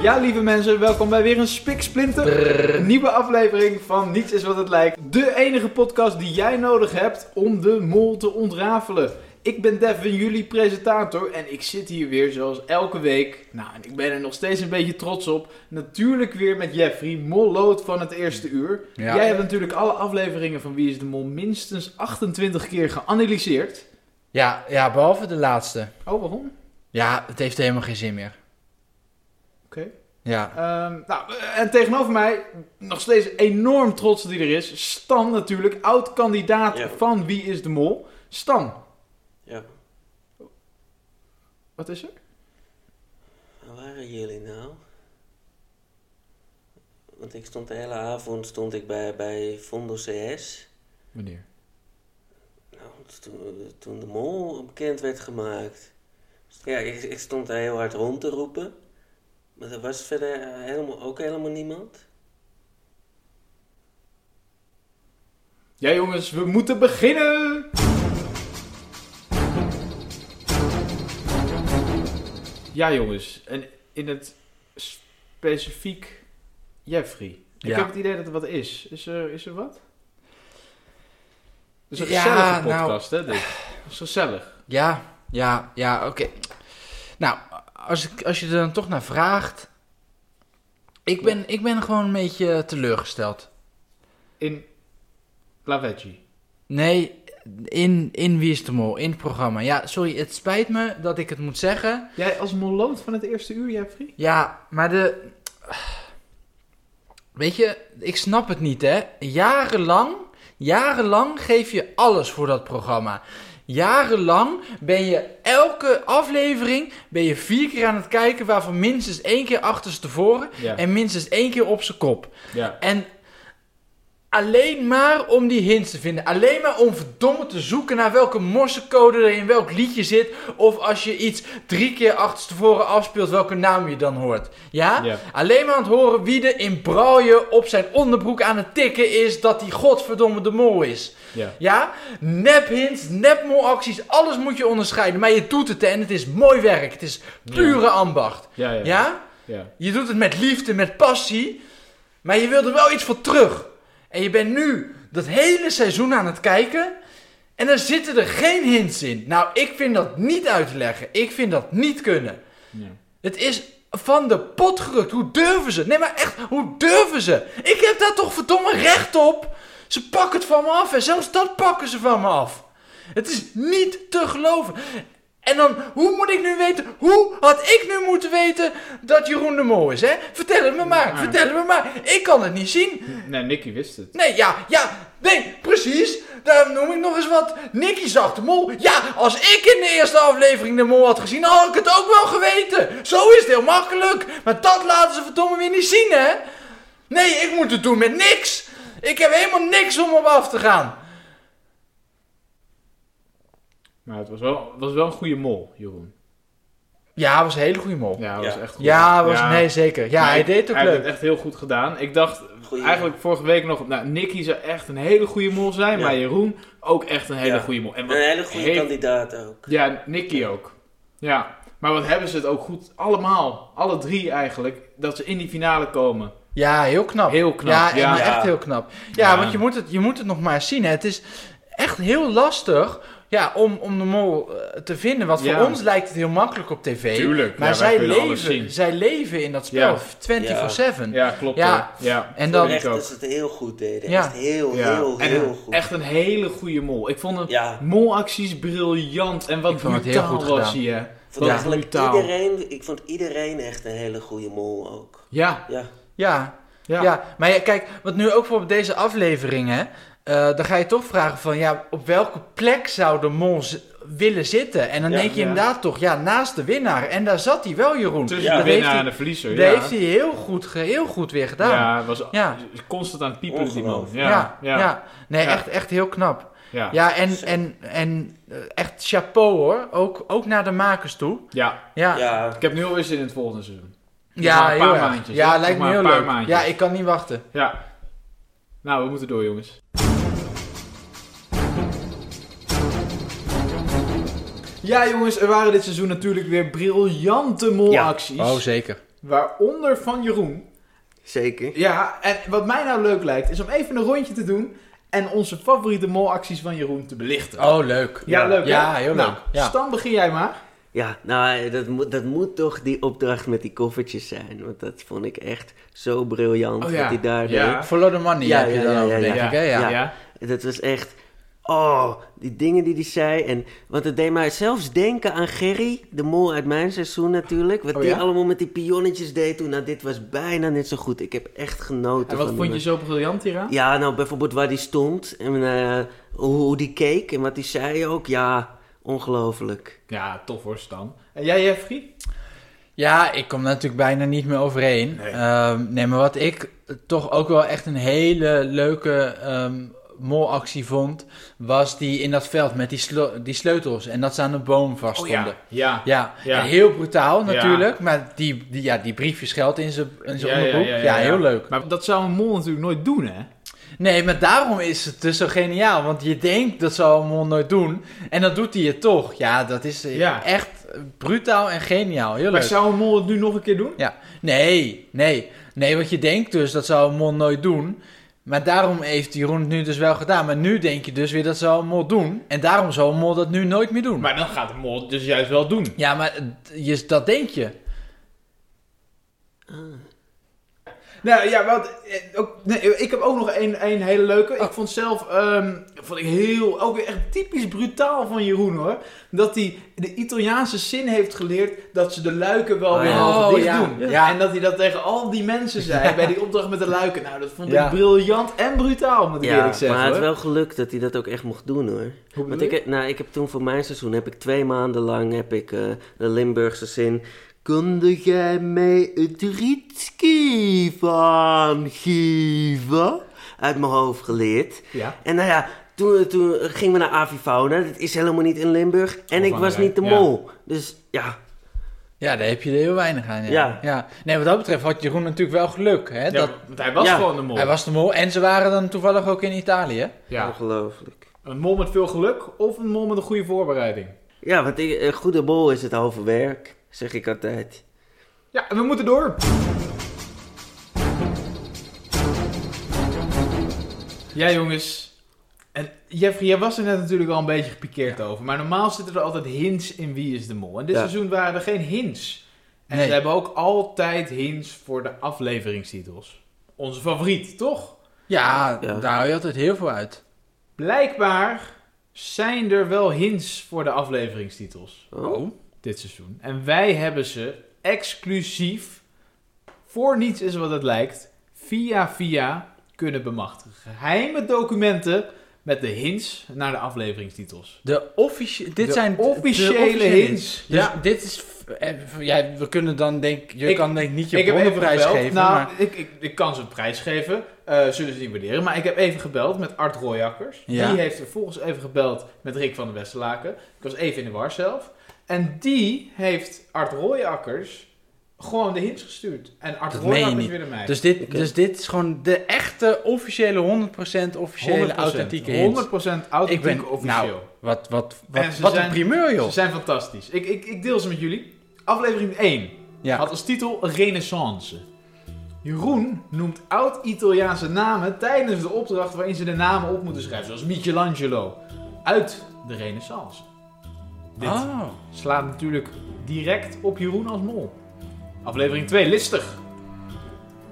Ja, lieve mensen, welkom bij weer een spiksplinter nieuwe aflevering van Niets is wat het lijkt. De enige podcast die jij nodig hebt om de mol te ontrafelen. Ik ben Devin, jullie presentator en ik zit hier weer zoals elke week. Nou, en ik ben er nog steeds een beetje trots op. Natuurlijk weer met Jeffrey, mollood van het eerste uur. Ja. Jij hebt natuurlijk alle afleveringen van Wie is de Mol minstens 28 keer geanalyseerd. Ja, ja, behalve de laatste. Oh, waarom? Ja, het heeft helemaal geen zin meer. Oké. Ja. Ehm, nou, eh, en tegenover mij, nog steeds enorm trots die er is. Stan natuurlijk, oud-kandidaat Ja. van Wie is de Mol. Stan. Ja. Wat is er? Waar waren jullie nou? Want ik stond de hele avond stond ik bij, bij Fondo CS. Wanneer? Nou, toen, toen de mol bekend werd gemaakt. Ja, ik, ik stond daar heel hard rond te roepen. Maar er was verder helemaal, ook helemaal niemand. Ja jongens, we moeten beginnen! Ja jongens, en in het specifiek Jeffrey. Ik Ja. heb het idee dat er wat is. Is er, is er wat? Het is een Ja, gezellige nou- podcast, hè? Dit. Het is gezellig. Ja, ja, ja, oké. Nou, als, ik, als je er dan toch naar vraagt. Ik ben, ik ben gewoon een beetje teleurgesteld. In Lavetti. Nee, in, in Wie is de Mol, in het programma. Ja, sorry, het spijt me dat ik het moet zeggen. Jij als molloot van het eerste uur, Jeffrey? Ja, maar de. Weet je, ik snap het niet, hè? Jarenlang, jarenlang geef je alles voor dat programma. Jarenlang ben je elke aflevering ben je vier keer aan het kijken, waarvan minstens één keer achterstevoren Ja. en minstens één keer op zijn kop. ja. En alleen maar om die hints te vinden. Alleen maar om verdomme te zoeken naar welke morsecode er in welk liedje zit. Of als je iets drie keer achterstevoren afspeelt, welke naam je dan hoort. Ja? Ja. Alleen maar aan het horen wie er in braille op zijn onderbroek aan het tikken is dat hij godverdomme de mol is. ja. Ja? Nep hints, nep molacties, alles moet je onderscheiden. Maar je doet het hè, en het is mooi werk. Het is pure ambacht. Ja, ja. ja? ja. Je doet het met liefde, met passie. Maar je wil er wel iets voor terug. En je bent nu dat hele seizoen aan het kijken. En er zitten er geen hints in. Nou, ik vind dat niet uit te leggen. Ik vind dat niet kunnen. Ja. Het is van de pot gerukt. Hoe durven ze? Nee, maar echt, hoe durven ze? Ik heb daar toch verdomme recht op? Ze pakken het van me af en zelfs dat pakken ze van me af. Het is niet te geloven. En dan, hoe moet ik nu weten? Hoe had ik nu moeten weten dat Jeroen de Mol is, hè? Vertel het me maar, Ja. vertel het me maar. Ik kan het niet zien. Nee, Nicky wist het. Nee, ja, ja, nee, precies. Daar noem ik nog eens wat. Nicky zag de mol. Ja, als ik in de eerste aflevering de mol had gezien, had ik het ook wel geweten. Zo is het heel makkelijk. Maar dat laten ze verdomme weer niet zien, hè? Nee, ik moet het doen met niks. Ik heb helemaal niks om op af te gaan. Maar het was wel, het was wel een goede mol, Jeroen. Ja, was een hele goede mol. Ja, dat was Ja. echt goed. Ja, was, nee, Maar zeker. Ja, hij ik- deed het ook Hij heeft leuk. het echt heel goed gedaan. Ik dacht Goeie eigenlijk vorige week nog... Nou, Nicky zou echt een hele goede mol zijn. Ja. Maar Jeroen ook echt een hele Ja. goede mol. En Een wat hele goede heeft- kandidaat ook. Ja, Nicky ook. Ja. Maar wat hebben ze het ook goed. Allemaal. Alle drie eigenlijk. Dat ze in die finale komen. Ja, heel knap. Heel knap, Ja, en ja. echt heel knap. Ja, Ja. want je moet, het, je moet het nog maar eens zien. Hè. Het is echt heel lastig ja, om, om de mol eh, te vinden. Want Ja. voor ons lijkt het heel makkelijk op tv. Tuurlijk, Maar ja, wij zij, kunnen alles leven, zien. zij leven in dat spel Ja. 24-7. Ja, klopt. Ja. hoor. ja. En Dan dan... echt ik ook. dat ze het heel goed deden. Ja. Echt heel, Ja. heel, En heel een- goed. Echt een hele goede mol. Ik vond hem Ja. molacties briljant. En wat Ik vond het heel brutaal goed was gedaan. hij, hè? Ik vond Ja. eigenlijk brutaal. iedereen, ik vond iedereen echt een hele goede mol ook. Ja, Ja. Ja, ja. ja. maar ja, kijk, wat nu ook voor op deze aflevering, hè. eh, dan ga je toch vragen van, ja, op welke plek zou de mol z- willen zitten? En dan Ja. denk je Ja. inderdaad toch, ja, naast de winnaar. En daar zat hij wel, Jeroen. Tussen Ja. de Dat heeft winnaar hij- en de verliezer. Daar ja. heeft hij heel goed, ge- heel goed weer gedaan. Ja, Ja, was Ja. constant aan het piepen, die man. Ongelooflijk. Ja, ja, ja. nee, Ja. Echt, echt heel knap. ja. Ja, en, Zeker. en, en eh, echt chapeau hoor. Ook, ook naar de makers toe. Ja, ja, ja. Ik heb nu al eens in het volgende seizoen. ja maar een paar heel erg. maandjes, hè? Ja, Nog lijkt me maar een heel paar leuk. maandjes. Ja, ik kan niet wachten. Ja. Nou, we moeten door, jongens. Ja, jongens, er waren dit seizoen natuurlijk weer briljante molacties. Oh, zeker. waaronder van Jeroen. Zeker. Ja, en wat mij nou leuk lijkt, is om even een rondje te doen en onze favoriete molacties van Jeroen te belichten. Oh, leuk. Ja, leuk hè? Ja, heel nou, leuk. Ja. Stan, begin jij maar. Ja, nou, dat moet, dat moet toch die opdracht met die koffertjes zijn. Want dat vond ik echt zo briljant Oh, wat ja. hij daar Ja. deed. Follow the money Ja, heb je ja, dan ja, over, ja, denk ja. ik. Hè? Ja. Dat was echt... Oh, die dingen die hij zei. En, want het deed mij zelfs denken aan Gerry, de mol uit mijn seizoen natuurlijk. Wat Oh, die ja? allemaal met die pionnetjes deed toen. Nou, dit was bijna net zo goed. Ik heb echt genoten En wat van die vond je zo briljant hieraan? Ja, nou bijvoorbeeld waar die stond en eh, hoe, hoe die keek en wat die zei ook. Ja, ongelooflijk. Ja, tof hoor, Stan. En jij, Jeffrey? Ja, ik kom daar natuurlijk bijna niet meer overheen. Nee. Nee, nee maar wat ik toch ook wel echt een hele leuke ehm molactie vond... was die in dat veld met die, slo- die sleutels en dat ze aan een boom vaststonden. Oh, Ja. Ja, Ja. en heel brutaal Ja. natuurlijk, maar die, die, ja, die briefjes geld in zijn in zijn onderbroek. Ja, heel leuk. Maar dat zou een mol natuurlijk nooit doen, hè? Nee, maar daarom is het dus zo geniaal, want je denkt dat zou een mol nooit doen en dan doet hij het toch. Ja, dat is eh, Ja. echt brutaal en geniaal, heel Maar leuk. zou een mol het nu nog een keer doen? Nee, nee, nee, want je denkt dus dat zou een mol nooit doen, maar daarom heeft Jeroen het nu dus wel gedaan. Maar nu denk je dus weer dat zou een mol doen en daarom zou een mol dat nu nooit meer doen. Maar dan gaat de mol het dus juist wel doen. Ja, maar eh, je, dat denk je. Nou ja, wat, eh, ook, nee, ik heb ook nog één één hele leuke. Ik vond zelf ehm, vond ik heel, ook weer echt typisch brutaal van Jeroen hoor. Dat hij de Italiaanse zin heeft geleerd dat ze de luiken wel Oh, weer ja. half Oh, dicht ja. doen. Ja. En dat hij dat tegen al die mensen zei bij die opdracht met de luiken. Nou, dat vond ik Ja. briljant en brutaal, moet ik Ja, eerlijk zeggen. maar het is hoor. wel gelukt dat hij dat ook echt mocht doen hoor. Hoe bedoel Want je? ik, heb- nou, ik heb toen voor mijn seizoen heb ik twee maanden lang heb ik, eh, de Limburgse zin. Kunde jij mij het rietski van geven? Uit mijn hoofd geleerd. Ja. En nou ja, toen, toen gingen we naar Avifauna. Dat is helemaal niet in Limburg. En ik was Belangrijk, niet de ja. mol. Dus ja, Ja, daar heb je er heel weinig aan. Ja. Ja. Ja. Nee, wat dat betreft had Jeroen natuurlijk wel geluk. Hè? Ja, dat, want hij was Ja, gewoon een mol. hij was de mol en ze waren dan toevallig ook in Italië. Ja. ongelooflijk. Een mol met veel geluk of een mol met een goede voorbereiding. Ja, want ik, een goede bol is het halve werk, zeg ik altijd. Ja, en we moeten door. Ja, jongens. En Jeffrey, jij was er net natuurlijk al een beetje gepikeerd over. Maar normaal zitten er altijd hints in Wie is de Mol. En dit Ja. seizoen waren er geen hints. En Nee. ze hebben ook altijd hints voor de afleveringstitels. Onze favoriet, toch? Ja, Ja. daar hou je altijd heel veel uit. Blijkbaar zijn er wel hints voor de afleveringstitels Oh. dit seizoen. En wij hebben ze exclusief voor niets is wat het lijkt via via kunnen bemachtigen. Geheime documenten met de hints naar de afleveringstitels. De offici dit De zijn de officiële hints. Dus Ja. dit is... eh, Ja, we kunnen dan denk... Je Ik- kan denk niet je ik heb even bronnenprijs gebeld. geven, nou, maar... ik, ik, ik kan ze een prijs geven. eh, zullen ze niet waarderen. Maar ik heb even gebeld met Art Royakkers. Ja. Die heeft vervolgens even gebeld met Rick van der Westerlaken. Ik was even in de war zelf. En die heeft Art Royakkers gewoon de hints gestuurd. En Art Dat meen je Royakkers niet. weer naar mij. Dus dit, Oké. dus dit is gewoon de echte officiële 100% officiële 100%, authentieke hints. 100% authentiek Ik ben- officieel. Wat, wat, En wat, ze wat een zijn- primeur, joh. Ze zijn fantastisch. Ik, ik, ik deel ze met jullie. Aflevering 1 Ja. had als titel Renaissance. Jeroen noemt oud-Italiaanse namen tijdens de opdracht waarin ze de namen op moeten schrijven. Zoals Michelangelo. Uit de Renaissance. Dit Oh. slaat natuurlijk direct op Jeroen als mol. Aflevering 2, listig.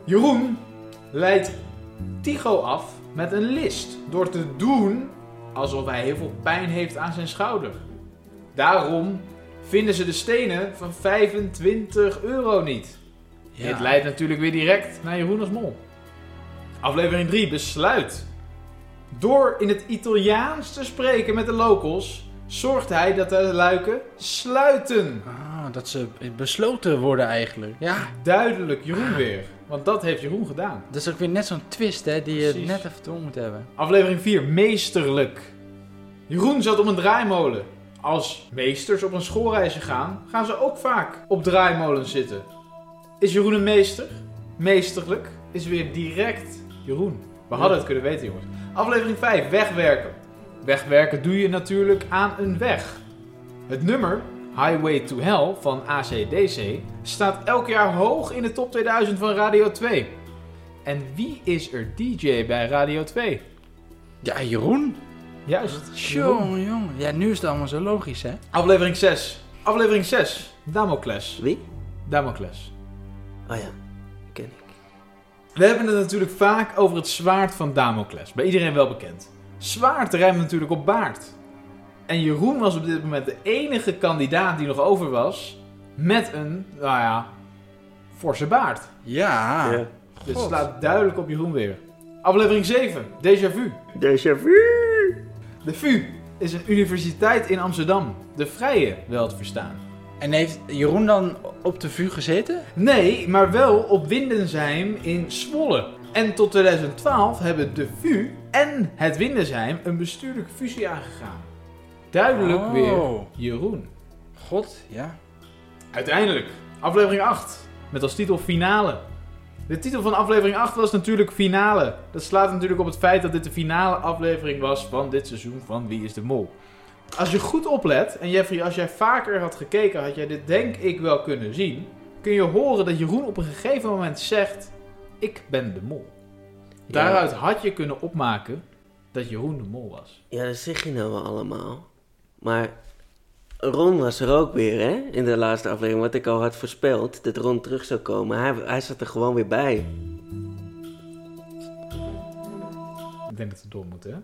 Jeroen leidt Tycho af met een list door te doen alsof hij heel veel pijn heeft aan zijn schouder. Daarom vinden ze de stenen van 25 euro niet. Ja. Dit leidt natuurlijk weer direct naar Jeroen als mol. Aflevering 3, besluit. Door in het Italiaans te spreken met de locals, zorgt hij dat de luiken sluiten. Ah, dat ze besloten worden eigenlijk. Ja, Duidelijk Jeroen weer, want dat heeft Jeroen gedaan. dat is ook weer net zo'n twist hè, die je Precies. net even door moet hebben. Aflevering 4, meesterlijk. Jeroen zat op een draaimolen. Als meesters op een schoolreisje gaan, gaan ze ook vaak op draaimolens zitten. Is Jeroen een meester? Meesterlijk is weer direct Jeroen. We hadden het kunnen weten, jongens. Aflevering 5, wegwerken. Wegwerken doe je natuurlijk aan een weg. Het nummer Highway to Hell van ACDC staat elk jaar hoog in de top 2000 van Radio 2. En wie is er DJ bij Radio 2? Ja, Jeroen. Juist. Jongen, jongen. Ja, nu is het allemaal zo logisch, hè? Aflevering 6. Aflevering 6. Damocles. Wie? Damocles. Oh ja, ken ik. We hebben het natuurlijk vaak over het zwaard van Damocles. Bij iedereen wel bekend. Zwaard rijmt natuurlijk op baard. En Jeroen was op dit moment de enige kandidaat die nog over was. Met een, nou ja, forse baard. Ja. Ja. Dus het God. slaat duidelijk op Jeroen weer. Aflevering 7. Déjà vu. Déjà vu. De VU is een universiteit in Amsterdam. De Vrije, wel te verstaan. En heeft Jeroen dan op de vuur gezeten? Nee, maar wel op Windensheim in Zwolle. En tot 2012 hebben de VU en het Windensheim een bestuurlijke fusie aangegaan. Duidelijk Oh. weer Jeroen. God, ja. Uiteindelijk, aflevering 8. Met als titel Finale. De titel van aflevering 8 was natuurlijk Finale. Dat slaat natuurlijk op het feit dat dit de finale aflevering was van dit seizoen van Wie is de Mol. Als je goed oplet, en Jeffrey, als jij vaker had gekeken, had jij dit denk ik wel kunnen zien. Kun je horen dat Jeroen op een gegeven moment zegt: Ik ben de Mol. Daaruit had je kunnen opmaken dat Jeroen de Mol was. Ja, dat zeg je nou wel allemaal. Maar Ron was er ook weer, hè? In de laatste aflevering. Wat ik al had voorspeld, dat Ron terug zou komen. Hij, hij zat er gewoon weer bij. Ik denk dat het door moet, hè?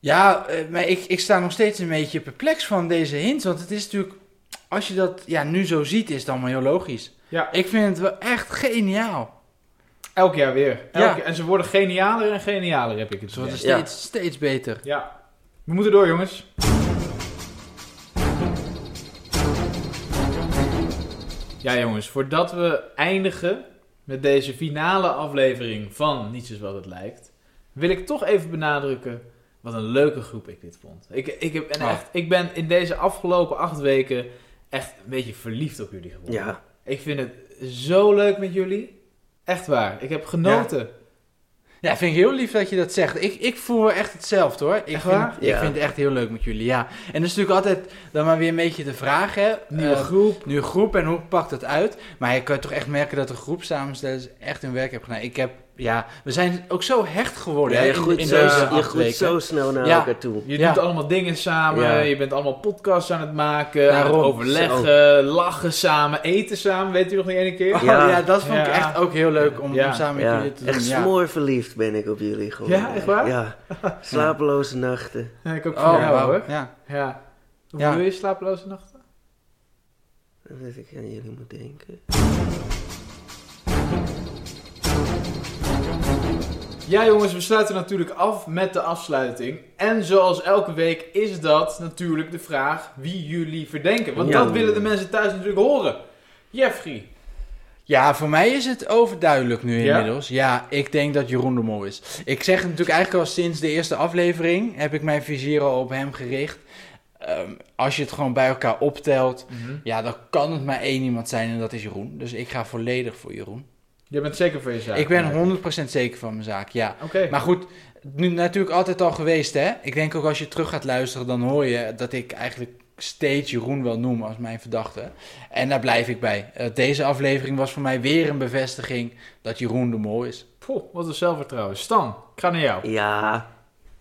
Ja, eh, maar ik, ik sta nog steeds een beetje perplex van deze hint. Want het is natuurlijk, als je dat ja, nu zo ziet, is het allemaal heel logisch. Ja. Ik vind het wel echt geniaal. Elk jaar weer. Elk Ja. jaar- En ze worden genialer en genialer, heb ik het Ze worden idee. Ja. Dus steeds, steeds beter. Ja, we moeten door, jongens. Ja, jongens, voordat we eindigen met deze finale aflevering van Niets is wat het lijkt, wil ik toch even benadrukken wat een leuke groep ik dit vond. Ik, ik, heb, en Ah. echt, ik ben in deze afgelopen acht weken echt een beetje verliefd op jullie geworden. Ja. Ik vind het zo leuk met jullie. Echt waar. Ik heb genoten. Ja, vind ik heel lief dat je dat zegt. Ik, ik voel echt hetzelfde hoor. Ik, Echt vind, waar? ik Ja. vind het echt heel leuk met jullie, ja. En dat is natuurlijk altijd dan maar weer een beetje de vraag, hè. Nieuwe Eh, groep. nieuwe groep en hoe pakt het uit? Maar je kan toch echt merken dat de groep samenstellers echt hun werk hebben gedaan. Ik heb, ja, we zijn ook zo hecht geworden Ja, hè, je in- groeit, in zo, deze je acht groeit weken. zo snel naar Ja. elkaar toe. Je Ja. doet allemaal dingen samen, Ja. je bent allemaal podcasts aan het maken, aan het Daarom. overleggen, lachen samen, eten samen, weet u nog niet ene keer? Oh, Ja. ja. dat vond ik Ja. echt ook heel leuk om, om Ja. samen met Ja. jullie te doen. Echt ja. smoorverliefd ben ik op jullie gewoon. Ja, echt waar? Ja. Slapeloze nachten. Ja, ik ook Oh, van jou wauw. hoor. Ja. Ja. Hoe Ja. doe je slapeloze nachten? Dat ik aan jullie moet denken. Ja jongens, we sluiten natuurlijk af met de afsluiting. En zoals elke week is dat natuurlijk de vraag wie jullie verdenken. Want Ja. dat willen de mensen thuis natuurlijk horen. Jeffrey. ja, voor mij is het overduidelijk nu Ja? inmiddels. Ja, ik denk dat Jeroen de Mol is. Ik zeg het natuurlijk eigenlijk al sinds de eerste aflevering heb ik mijn vizier al op hem gericht. Ehm, als je het gewoon bij elkaar optelt, ja, dan kan het maar één iemand zijn en dat is Jeroen. Dus ik ga volledig voor Jeroen. Je bent zeker van je zaak. ik ben 100% zeker van mijn zaak, ja. Oké. Maar goed, nu natuurlijk altijd al geweest, hè? Ik denk ook als je terug gaat luisteren, dan hoor je dat ik eigenlijk steeds Jeroen wel noem als mijn verdachte. En daar blijf ik bij. Eh, Deze aflevering was voor mij weer een bevestiging dat Jeroen de Mol is. Poh, wat een zelfvertrouwen. Stan, ik ga naar jou. Ja.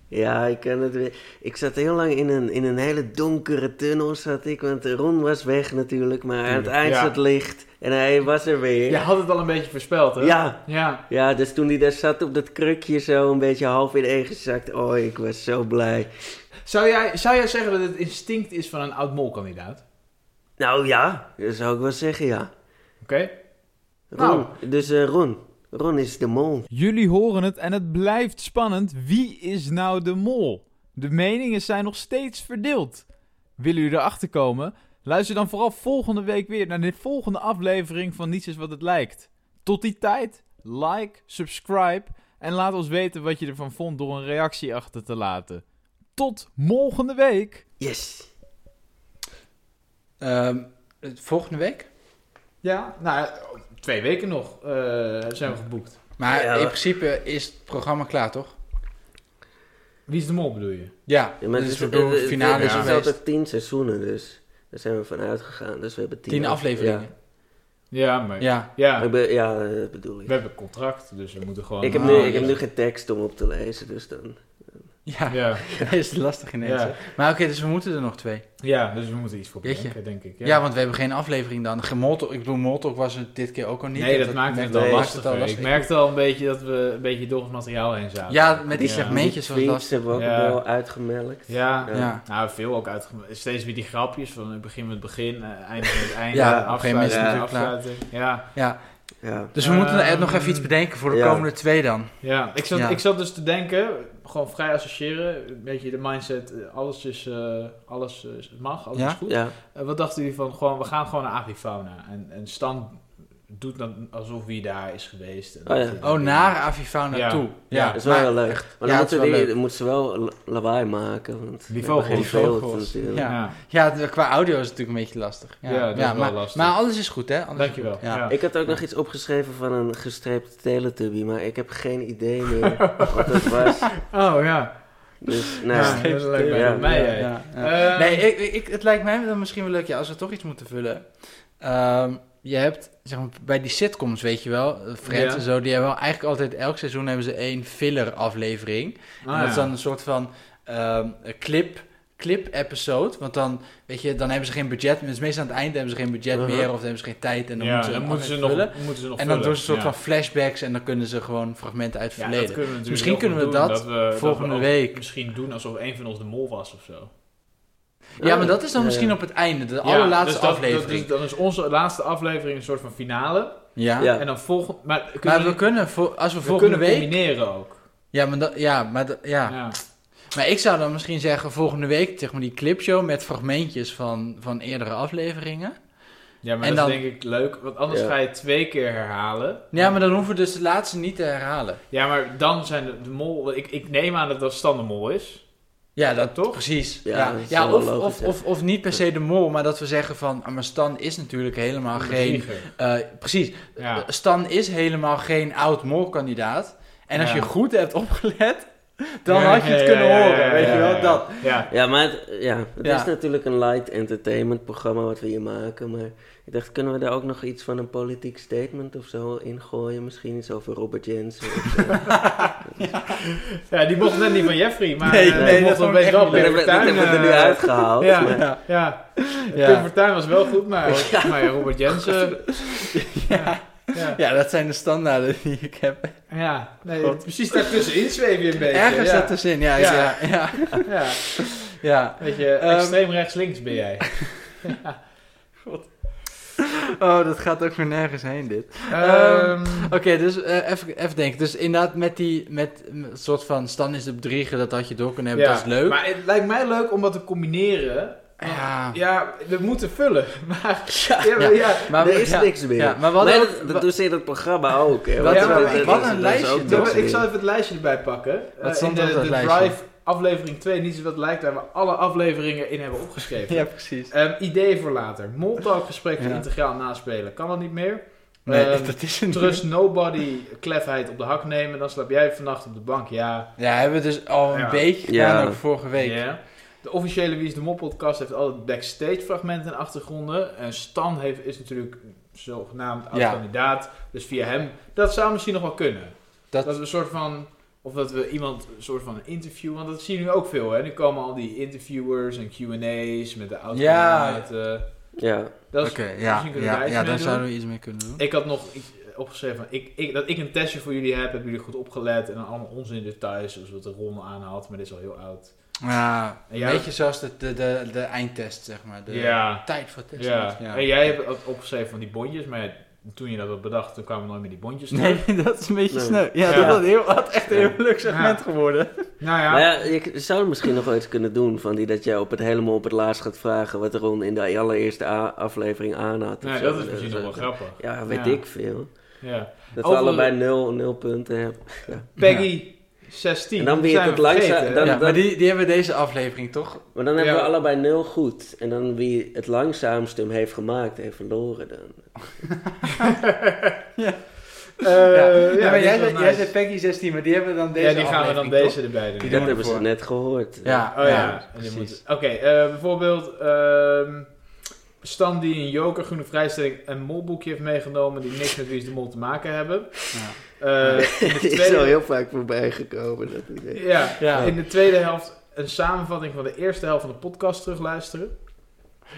Ja, ik kan het weer. Ik zat heel lang in een, in een hele donkere tunnel, zat ik. Want Ron was weg natuurlijk, maar aan het Tuurlijk, eind ja. zat licht. En hij was er weer. Je had het al een beetje voorspeld hè? ja. Ja. Ja, dus toen hij daar zat op dat krukje zo een beetje half in één gezakt. Oh, ik was zo blij. Zou jij, zou jij zeggen dat het instinct is van een oud-mol-kandidaat? Nou ja, dat zou ik wel zeggen, ja. Oké? Ron, Nou. dus eh, Ron. Ron is de mol. Jullie horen het en het blijft spannend. Wie is nou de mol? De meningen zijn nog steeds verdeeld. Willen jullie erachter komen? Luister dan vooral volgende week weer naar de volgende aflevering van Niets is wat het lijkt. Tot die tijd, like, subscribe en laat ons weten wat je ervan vond door een reactie achter te laten. Tot volgende week! Yes. Ehm, eh, volgende week? Ja, nou, twee weken nog eh, zijn we geboekt. Maar Ja, in we- principe is het programma klaar, toch? Wie is de mol bedoel je? Ja, Ja, maar dus we het bedoel, het- de het- finale is ja. Het is geweest. altijd tien seizoenen, dus daar zijn we van uitgegaan. Dus we hebben tien, Tien afleveringen. Ja. Ja, maar... Ja. Ja. Ik ben- ja, eh, bedoel we ik. hebben een contract, dus we moeten gewoon... Ik heb, Ah, nu, ik ja. heb nu geen tekst om op te lezen, dus dan... Ja, Ja. dat is lastig ineens. Ja. hè. Maar oké, dus we moeten er nog twee. ja, dus we moeten iets voor Jeetje. bedenken, denk ik. Ja, want we hebben geen aflevering dan. Geen Molotov- ik bedoel, Molotov was het dit keer ook al niet. nee, dat, maakt het al- wel nee, maakt het lastiger. al lastig. Ik merkte al een beetje dat we een beetje door het materiaal heen zaten. Ja, met die Ja. segmentjes was Die lastig. tweets hebben we ook Ja. wel uitgemelkt. Ja, Ja. Ja. nou veel ook uitgemaakt. Steeds weer die grapjes van eh, begin met begin, eh, einde met einde, Ja, afsluiting, op een gegeven moment is het ja, natuurlijk klaar. afsluiting. Ja, ja. Ja. Dus we moeten er echt nog Ehm, even iets bedenken voor de ja. komende twee dan. ja. Ik, zat, Ja. ik zat dus te denken, gewoon vrij associëren, een beetje de mindset, eh, alles, is, eh, alles is- mag, alles Ja? is goed. Ja. Eh, wat dachten jullie van, gewoon, we gaan gewoon naar Avifauna en, en Stan doet dan alsof hij daar is geweest. En Oh ja. dat hij dan- Oh, naar Avifauna Ja. toe. Ja, Dat is wel maar- heel leuk. maar ja, dan het is moeten, wel die, leuk. dan moeten ze wel la- lawaai maken. Want Die we hebben vogels, geen die beeld vogels. natuurlijk. Ja. Ja. Ja, de- qua audio is het natuurlijk een beetje lastig. Ja, Ja, dat is wel maar, lastig. Maar alles is goed, hè? Alles is Dankjewel. goed. Ja. Ik had ook nog iets opgeschreven van een gestreepte teletubby, maar ik heb geen idee meer wat het was. Oh ja, Dus, ja. nou, ja. dat is leuk bij Ja. mij. Ja, hè. ja, ja. Eh, ja. nee, ik, ik- ik, het lijkt mij dan misschien wel leuk, ja, als we toch iets moeten vullen. Ehm, je hebt, zeg maar, bij die sitcoms, weet je wel, eh, Friends Ja. en zo, die hebben wel eigenlijk altijd, elk seizoen hebben ze één filler-aflevering. Ah, en dat is ja. dan een soort van ehm, een clip, clip-episode, want dan, weet je, dan hebben ze geen budget meer. Dus meestal aan het eind hebben ze geen budget Uh-huh. meer, of dan hebben ze geen tijd en dan Ja, moeten ze, dan een moeten ze, nog, aflevering vullen. moeten ze nog En dan vullen. doen ze een soort Ja. van flashbacks en dan kunnen ze gewoon fragmenten uit het Ja, verleden. dat kunnen we natuurlijk Misschien heel kunnen goed we doen, dat we, volgende we ook week. Misschien doen alsof een van ons de mol was of zo. Ja, maar dat is dan Ja. misschien op het einde, de Ja, allerlaatste dus dat- Dat, aflevering. is- dan is onze laatste aflevering een soort van finale. ja. Ja. En dan volgende. Maar kunnen Maar we, we kunnen, voor, als we, we volgende kunnen week... combineren ook. Ja, maar, dat- ja, maar, dat- ja. Ja. maar ik zou dan misschien zeggen, volgende week zeg maar die clipshow met fragmentjes van, van eerdere afleveringen. Ja, maar En dat is dan- denk ik leuk, want anders Ja. ga je het twee keer herhalen. Ja, maar dan hoeven we dus de laatste niet te herhalen. Ja, maar dan zijn de, de mol. Ik, ik neem aan dat dat Stan de mol is. Ja, dat Toch? toch? Precies. Ja, Ja, dat ja. is wel of, logisch, of, ja. of, of niet per se de mol, maar dat we zeggen van... ah, Maar Stan is natuurlijk helemaal De Ah, geen... bedrieger. eh, precies, Eh, Ja. Stan is helemaal geen oud molkandidaat. En als Ja. je goed hebt opgelet, dan Ja, had je het ja, kunnen ja, ja, horen. ja, weet ja, je ja, wel, ja. dat. Ja. maar het, ja, het Ja. is natuurlijk een light entertainment programma wat we hier maken. Maar ik dacht, kunnen we daar ook nog iets van een politiek statement of zo in gooien? Misschien iets over Robert Jensen. of zo. ja, die mocht net niet van Jeffrey, maar Nee, eh, nee, die dat mocht vond een ik beetje echt wel dat hebben we- dat Pim hebben we er nu Fortuyn, eh, uitgehaald. ja. maar- Ja. Ja, ja. Ja. Pim Fortuyn was wel goed, maar, maar eh, Robert Jensen... Ja, Ja, dat zijn de standaarden die ik heb. ja. Nee, Goed. precies daartussenin zweef je een beetje. Ergens ja. zat er zin, ja. Ja. Ja, ja, ja. Ja, weet je, Ehm, extreem rechts-links ben jij. Oh, dat gaat ook weer nergens heen, dit. Ehm, Oké, dus eh, even, even denken. Dus inderdaad, met die met een soort van Stan is de bedrieger, dat had je door kunnen hebben, ja. dat is leuk. Maar het lijkt mij leuk om dat te combineren. ja. Ja, we moeten vullen. Maar, Ja, ja, maar, ja, Maar, er is ja. niks meer. Ja, maar maar wat ook- dat, dat doen ze in dat programma ook. hè. Wat- Ja, maar dat- ik- wat een dat- dat is lijstje. ook Ja, dat maar ik soort zal even het lijstje erbij pakken. Eh, in stond de, er op dat de lijstje? Drive aflevering 2, niet zo dat lijkt, daar hebben we alle afleveringen in hebben opgeschreven. ja, precies. Ehm, idee voor later. Moltalk gesprekken Ja. integraal naspelen. Kan dat niet meer. Nee, Ehm, dat is een Trust nobody, klefheid op de hak nemen. Dan slaap jij vannacht op de bank. Ja. Ja, hebben we dus al een Ja. beetje gedaan, Ja. ook vorige week. Ja. De officiële Wie is de Mol podcast heeft altijd backstage fragmenten en achtergronden. En Stan heeft, is natuurlijk zogenaamd Ja. oud-kandidaat. Dus via hem. Dat zou misschien nog wel kunnen. Dat, Dat- we een soort van... Of dat we iemand een soort van interview... Want dat zie je nu ook veel, hè. Nu komen al die interviewers en Q&A's met de oud-kandidaat. eh, dingen. Ja. dat is- Oké, ja, misschien kunnen we ja, daar iets ja mee doen. daar zouden we iets mee kunnen doen. Ik had nog iets eh, opgeschreven van, ik, ik, dat ik een testje voor jullie heb, hebben jullie goed opgelet en dan allemaal onzin details, zoals wat de Ron aanhaalt, maar dit is al heel oud. Ja, een Ja. beetje zoals de, de, de, de eindtest, zeg maar. De Ja. tijd voor testen. Ja. en jij hebt ook opgeschreven van die bondjes, maar ja, toen je dat had bedacht, toen kwamen nooit meer die bondjes terug. Nee, dat is een beetje Nee. sneu. Ja, Ja. dat had, heel, had echt een Ja. heel leuk segment geworden. Nou ja, Maar ja, je zou misschien nog wel iets kunnen doen van die dat jij op het helemaal op het laatst gaat vragen wat Ron in de allereerste a- aflevering aan had. of nee, zo. dat is misschien nog wel grappig. Ja, weet Ja. ik veel. Ja. Dat Over- we allebei nul, nul punten hebben. Peggy 16. En dan weer zijn tot we langzaam- vergeten. dan- ja, maar die, die hebben we deze aflevering toch? Maar dan hebben Ja. we allebei nul goed. En dan wie het langzaamst hem heeft gemaakt, heeft verloren dan. Eh, ja, Ja, maar dit jij, is wel zei- jij nice. zei Peggy 16, maar die hebben we dan deze Ja, die gaan we dan aflevering, toch? deze erbij doen. Die dat we hebben ze voor. net gehoord. Ja, Oh ja, en die precies. moeten- Oké, eh, bijvoorbeeld ehm, Stan die een joker, groene vrijstelling en molboekje heeft meegenomen die niks met Wie is de Mol te maken hebben. Eh, in de Het is tweede- al heel vaak voorbij gekomen, dat idee. ja, Ja. in de tweede helft een samenvatting van de eerste helft van de podcast terugluisteren.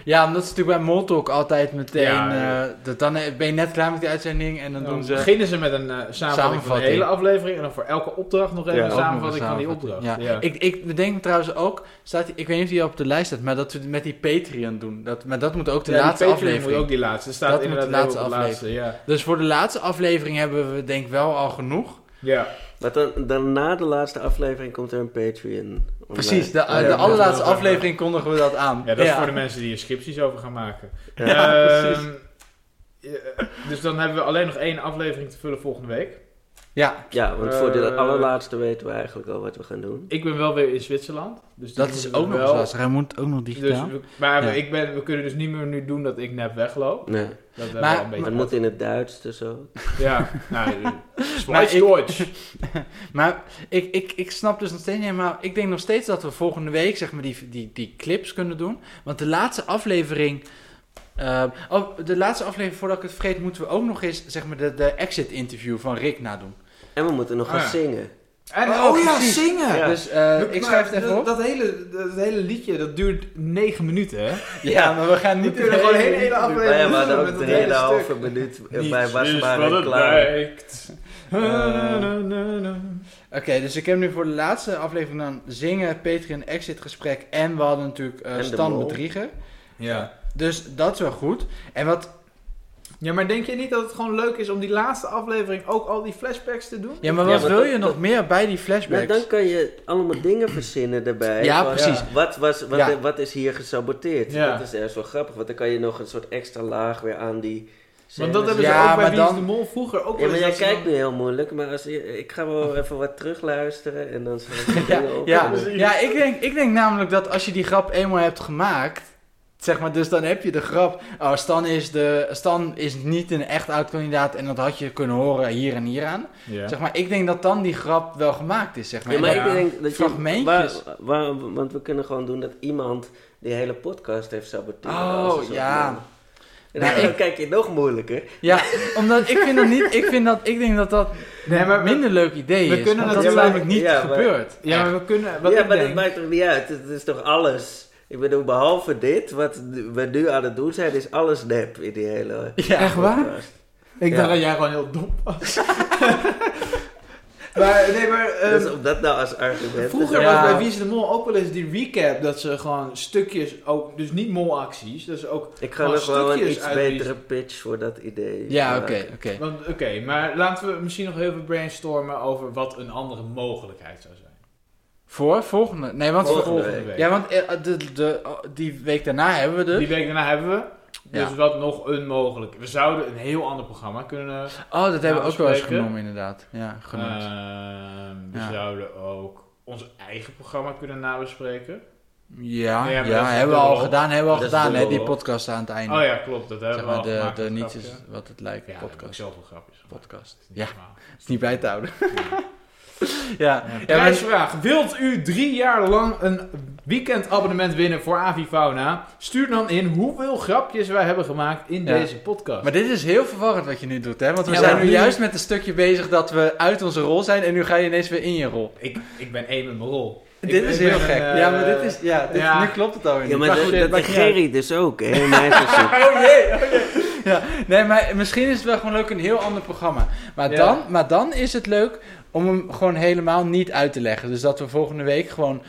Ja, omdat ze natuurlijk bij Moltok altijd meteen... Ja, ja. eh, dat dan ben je net klaar met die uitzending en dan doen ze... beginnen ze met een eh, samenvatting, van de Samenvatting. hele aflevering en dan voor elke opdracht nog even Ja, een ook nog samenvatting een van die samenvatting. opdracht. Ja. Ik, ik bedenk trouwens ook, staat, die- ik weet niet of die op de lijst staat, maar dat we het met die Patreon doen. Dat, maar dat moet ook de Ja, die laatste Patreon aflevering. moet ook die laatste. Er staat Dat moet inderdaad de laatste heel op de laatste. Ja. Dus voor de laatste aflevering hebben we denk ik wel al genoeg. ja. Maar dan, dan na de laatste aflevering komt er een Patreon. online. Oh, Precies, de, Ja, de ja, allerlaatste ja. aflevering kondigen we dat aan. Ja, dat is voor de mensen die er scripties over gaan maken. Ja, Ehm, precies. ja, dus dan hebben we alleen nog één aflevering te vullen volgende week. Ja, Ja, want voor de Eh, allerlaatste weten we eigenlijk al wat we gaan doen. Ik ben wel weer in Zwitserland. Dus die dat is moeten we ook nog eens wel- lastig. Hij moet ook nog Dus digitaal. we, maar Ja. ik ben, we kunnen dus niet meer nu doen dat ik nep wegloop. Nee, Dat hebben Maar- we al een maar beetje... het moet in het Duits dus ook. Ja, nou, Maar Zweeds ik- Deutsch. Maar ik, ik, ik snap dus nog steeds niet helemaal... Ik denk nog steeds dat we volgende week zeg maar, die, die, die clips kunnen doen. Want de laatste aflevering... eh, oh, de laatste aflevering, voordat ik het vergeet... moeten we ook nog eens zeg maar, de, de exit interview van Rick nadoen. En we moeten nog Ah, gaan ja. zingen. En, Oh, ja, zingen! Ja. Dus eh, ik schrijf het even dat, op. Dat hele, dat hele liedje, dat duurt negen minuten, hè? ja, maar we gaan We niet... kunnen de gewoon een hele- hele aflevering Maar ja, we hadden vullen ook met dat hele stuk. 3,5 minuut eh, bij wasbare klaar. Eh. lijkt. Eh. Eh. Oké, dus ik heb nu voor de laatste aflevering dan zingen, Patreon, exit gesprek en we hadden natuurlijk eh En de Stan mol. bedrieger. Ja. Dus dat is wel goed. En wat, ja, maar denk je niet dat het gewoon leuk is om die laatste aflevering ook al die flashbacks te doen? ja, maar Ja, wat maar wil dat- je dat- nog meer bij die Maar flashbacks? Nou, dan kan je allemaal dingen verzinnen daarbij. Ja, Van, precies. Wat, was, wat, Ja. wat is hier gesaboteerd? Ja. Dat is ergens wel grappig, want dan kan je nog een soort extra laag weer aan die... Want dat scènes hebben ze Ja, ook bij maar Wie is dan- de Mol vroeger ook Ja, wel maar eens jij dat ze kijkt dan- nu heel moeilijk, maar als, ik ga wel even wat terugluisteren en dan zal ik Oh. Ja, dingen op. ja, ja ik, denk, ik denk namelijk dat als je die grap eenmaal hebt gemaakt, zeg maar, dus dan heb je de grap, oh, Stan is, de, Stan is niet een echt oud kandidaat en dat had je kunnen horen hier en hier aan. Zeg maar, ik denk dat dan die grap wel gemaakt is, zeg maar. Ja, maar En ik denk dat je... Fragmentjes. waar- waar- want we kunnen gewoon doen dat iemand die hele podcast heeft saboteerd. Oh, als een soort ja. man. En dan, Nou, dan kijk je nog moeilijker. Ja, omdat ik vind dat niet. Ik, vind dat, ik denk dat dat Nee, maar een we, minder leuk idee we is. kunnen want dat dat- is ja, namelijk niet ja, maar- gebeurd. ja, maar we kunnen... Wat ja, ik maar denk, dat maakt toch niet uit? Het is toch alles? Ik bedoel, behalve dit, wat we nu aan het doen zijn, is alles nep in die hele Ja. Echt waar? podcast. Ik Ja. dacht dat jij gewoon heel dom was. maar nee, maar... ehm, dus om dat nou als argument te Vroeger Ja. was bij Wie is de Mol ook wel eens die recap dat ze gewoon stukjes, ook, dus niet molacties, dus ook... Ik ga Gewoon nog wel een stukjes iets uit betere pitch voor dat idee. Ja, oké, maken. oké. want Oké, maar laten we misschien nog heel veel brainstormen over wat een andere mogelijkheid zou zijn. Voor volgende. Nee, want. Voor Volgende volgende week. week. Ja, want eh, de, de, oh, die week daarna hebben we dus. Die week daarna hebben we. Dus Ja. wat nog een mogelijk. We zouden een heel ander programma kunnen... Oh, dat hebben we ook wel eens Afspreken. genomen, inderdaad. Ja, genoemd. Eh, Ehm, we Ja. zouden ook ons eigen programma kunnen nabespreken. ja, nee, ja, maar dat is hebben we de al rol. gedaan, hebben we al Dat is gedaan, de hè, rol. die podcast aan het einde. Oh ja, klopt. Dat hebben Zeg maar, we al de, gemaakt, de dat niet grapje. is wat het lijkt, Ja, podcast. podcast. zoveel grapjes. gemaakt. Podcast. Dat is niet Ja, normaal. is niet bij te houden. ja, ja, maar- Prijsvraag. Wilt u drie jaar lang een weekendabonnement winnen voor Avifauna? Stuur dan in hoeveel grapjes wij hebben gemaakt in Ja. deze podcast. Maar dit is heel verwarrend wat je nu doet, hè? Want we Ja, zijn maar nu nu- juist met een stukje bezig dat we uit onze rol zijn en nu ga je ineens weer in je rol. Ik, ik ben één met mijn rol. Ik- dit ik is ben heel een, gek. eh, ja, maar dit is... Ja, dit, ja. nu klopt het alweer Ja, niet. maar, Maar dat- goed, dat, dit maakt de niet uit. Gerry dus ook, hè? in Mijn seizoen. Oh jee, oh jee. Ja, nee, maar misschien is het wel gewoon leuk een heel ander programma. Maar, Ja. dan, maar dan is het leuk om hem gewoon helemaal niet uit te leggen. Dus dat we volgende week gewoon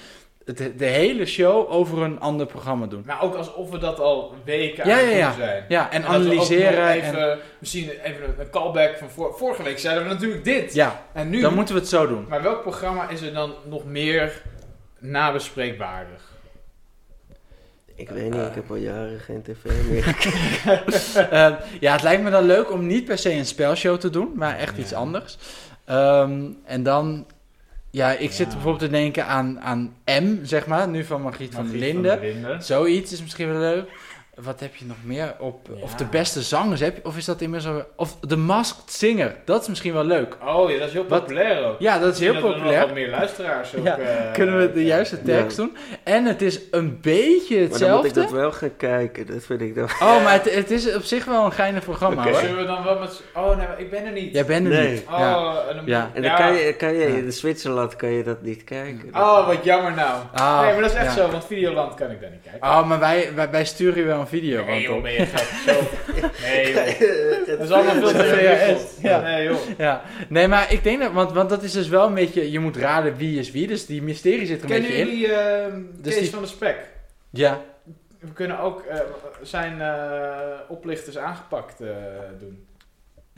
het, de hele show over een ander programma doen. Maar ook alsof we dat al weken Ja, aan het ja, doen zijn. Ja, en, En dat we ook nog analyseren. en, Even, Misschien even een- een callback van vor- vorige week zeiden we natuurlijk dit. ja, En nu. dan moeten we het zo doen. Maar welk programma is er dan nog meer nabespreekbaardig? Ik weet niet, ik heb al jaren geen tv meer. Eh, ja, het lijkt me dan leuk om niet per se een spelshow te doen, maar echt Ja. iets anders. Ehm, en dan, ja, ik zit Ja. bijvoorbeeld te denken aan, aan M, zeg maar, nu van Margriet, van der Margriet Linden. Linden. Zoiets is misschien wel leuk. Wat heb je nog meer op? Of Ja. de beste zangers heb je? Of is dat inmiddels al... Of The Masked Singer. Dat is misschien wel leuk. Oh ja, dat is heel Wat- populair ook. Ja, dat is heel Misschien Dat er nog eh, populair. wat meer luisteraars ook. Ja, eh, Kunnen we de krijgen. juiste tekst doen? En het is een beetje Maar dan moet hetzelfde. ik dat wel gaan kijken. Dat vind ik dan... Oh, maar het, het is op zich wel een geinig programma Oké. hoor. Zullen we dan wel met... z'n- Oh nee, maar ik ben er niet. Jij bent er Nee. niet. Oh, Ja. en dan- Ja. En dan Ja. kan je, kan je Ja. in Zwitserland kan je dat niet kijken. Oh, wat jammer nou. Ah, nee, maar dat is echt ja. zo, want Videoland kan ik daar niet kijken. Oh, maar wij, wij, wij sturen je wel een video. nee, want joh, op- ben je gek. Zo. Nee, joh. Dat is allemaal veel Dat te is ingewikkeld. Ja. Nee, joh. Ja, nee, maar ik denk dat, want, want dat is dus wel een beetje, je moet raden wie is wie, dus die mysterie zit er een Kennen beetje in. jullie ehm Dus Kees die- van de Spek? Ja, We kunnen ook eh, zijn eh, oplichters aangepakt eh, doen.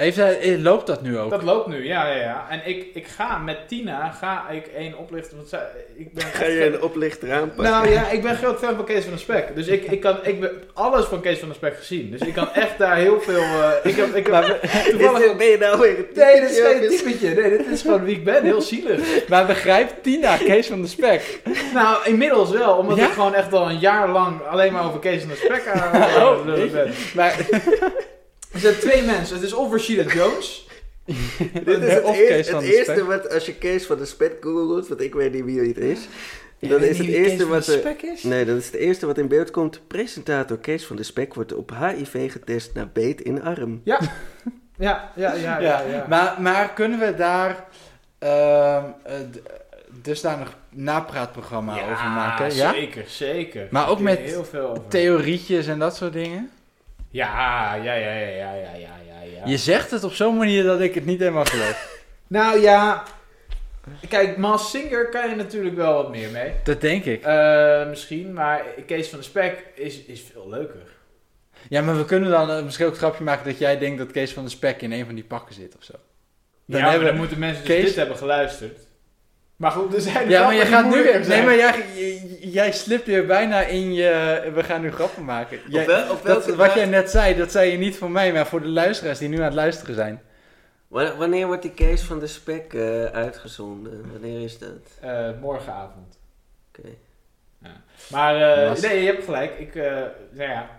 Heeft hij, eh, loopt dat nu ook? Dat loopt nu, ja, ja, ja. En ik, ik ga met Tina, ga ik één oplichter, want zij, ik ben... Ga je een oplichter aanpakken? Nou ja, ik ben groot fan van Kees van der Spek. Dus ik, ik, kan, ik heb alles van Kees van der Spek gezien. Dus ik kan echt daar heel veel... eh, ik heb, ik heb toevallig... Dit- ben je nou weer een Nee, dit is geen typetje? typetje. Nee, dit is gewoon wie ik ben. Heel zielig. Maar begrijpt Tina Kees van de Spek? Nou, inmiddels wel. Omdat Ja? ik gewoon echt al een jaar lang alleen maar over Kees van der Spek aan aan- aan- Oh, aan- ben. Maar, Er zijn twee mensen. Het is of Rashida Jones. Dit is het, Of eer- Kees van het de eerste Spek. wat als je Kees van de Spek googelt, want ik weet niet wie het is. Jij dan weet niet is het wie Kees eerste van wat de er- Spek is? Nee, dat is het eerste wat in beeld komt. Presentator Kees van de Spek wordt op HIV getest na beet in arm. Ja, ja, ja. ja, Ja, ja. Maar, maar kunnen we daar ehm eh, d- dusdanig napraatprogramma over maken? Ja? zeker, zeker. Maar ook Ik met denk heel veel over. Theorietjes en dat soort dingen? Ja, ja, ja, ja, ja, ja, ja, ja, ja. Je zegt het op zo'n manier dat ik het niet helemaal geloof. Nou ja, kijk, Mas Singer kan je natuurlijk wel wat meer mee. dat denk ik. Eh, misschien, maar Kees van de Spek is, is veel leuker. Ja, maar we kunnen dan eh, misschien ook een grapje maken dat jij denkt dat Kees van de Spek in een van die pakken zit of zo. Dan ja, maar hebben dan we- moeten mensen dus Kees- dit hebben geluisterd. Maar goed, dus er zijn Ja, maar grappen je die gaat nu moeilijker weer. Nee, zijn. maar jij, j- jij slipt weer bijna in je. We gaan nu grappen maken. Jij- wel- op dat, welke wat dag- jij net zei, dat zei je niet voor mij, maar voor de luisteraars die nu aan het luisteren zijn. Wa- Wanneer wordt die Kees van de Spek eh, uitgezonden? Wanneer is dat? Eh, morgenavond. Oké. Maar eh, Mas- nee, je hebt gelijk. Ik, eh, nou ja,